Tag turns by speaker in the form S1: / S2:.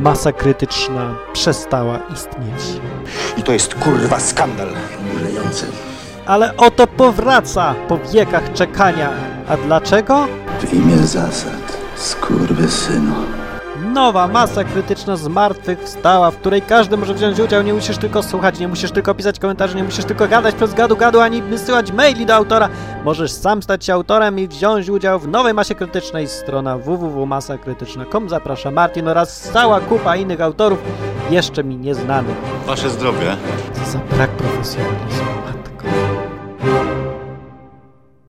S1: masa krytyczna przestała istnieć.
S2: I to jest kurwa skandal.
S3: Mdlejące.
S1: Ale oto powraca po wiekach czekania. A dlaczego?
S3: W imię zasad. Skurwysynu.
S1: Nowa masa krytyczna zmartwychwstała, w której każdy może wziąć udział. Nie musisz tylko słuchać, nie musisz tylko pisać komentarzy, nie musisz tylko gadać przez gadu gadu, ani wysyłać maili do autora. Możesz sam stać się autorem i wziąć udział w nowej masie krytycznej. Strona www.masakrytyczna.com zaprasza Martin oraz cała kupa innych autorów, jeszcze mi nieznanych.
S4: Wasze zdrowie.
S1: Co za brak profesjonalizmu, matko.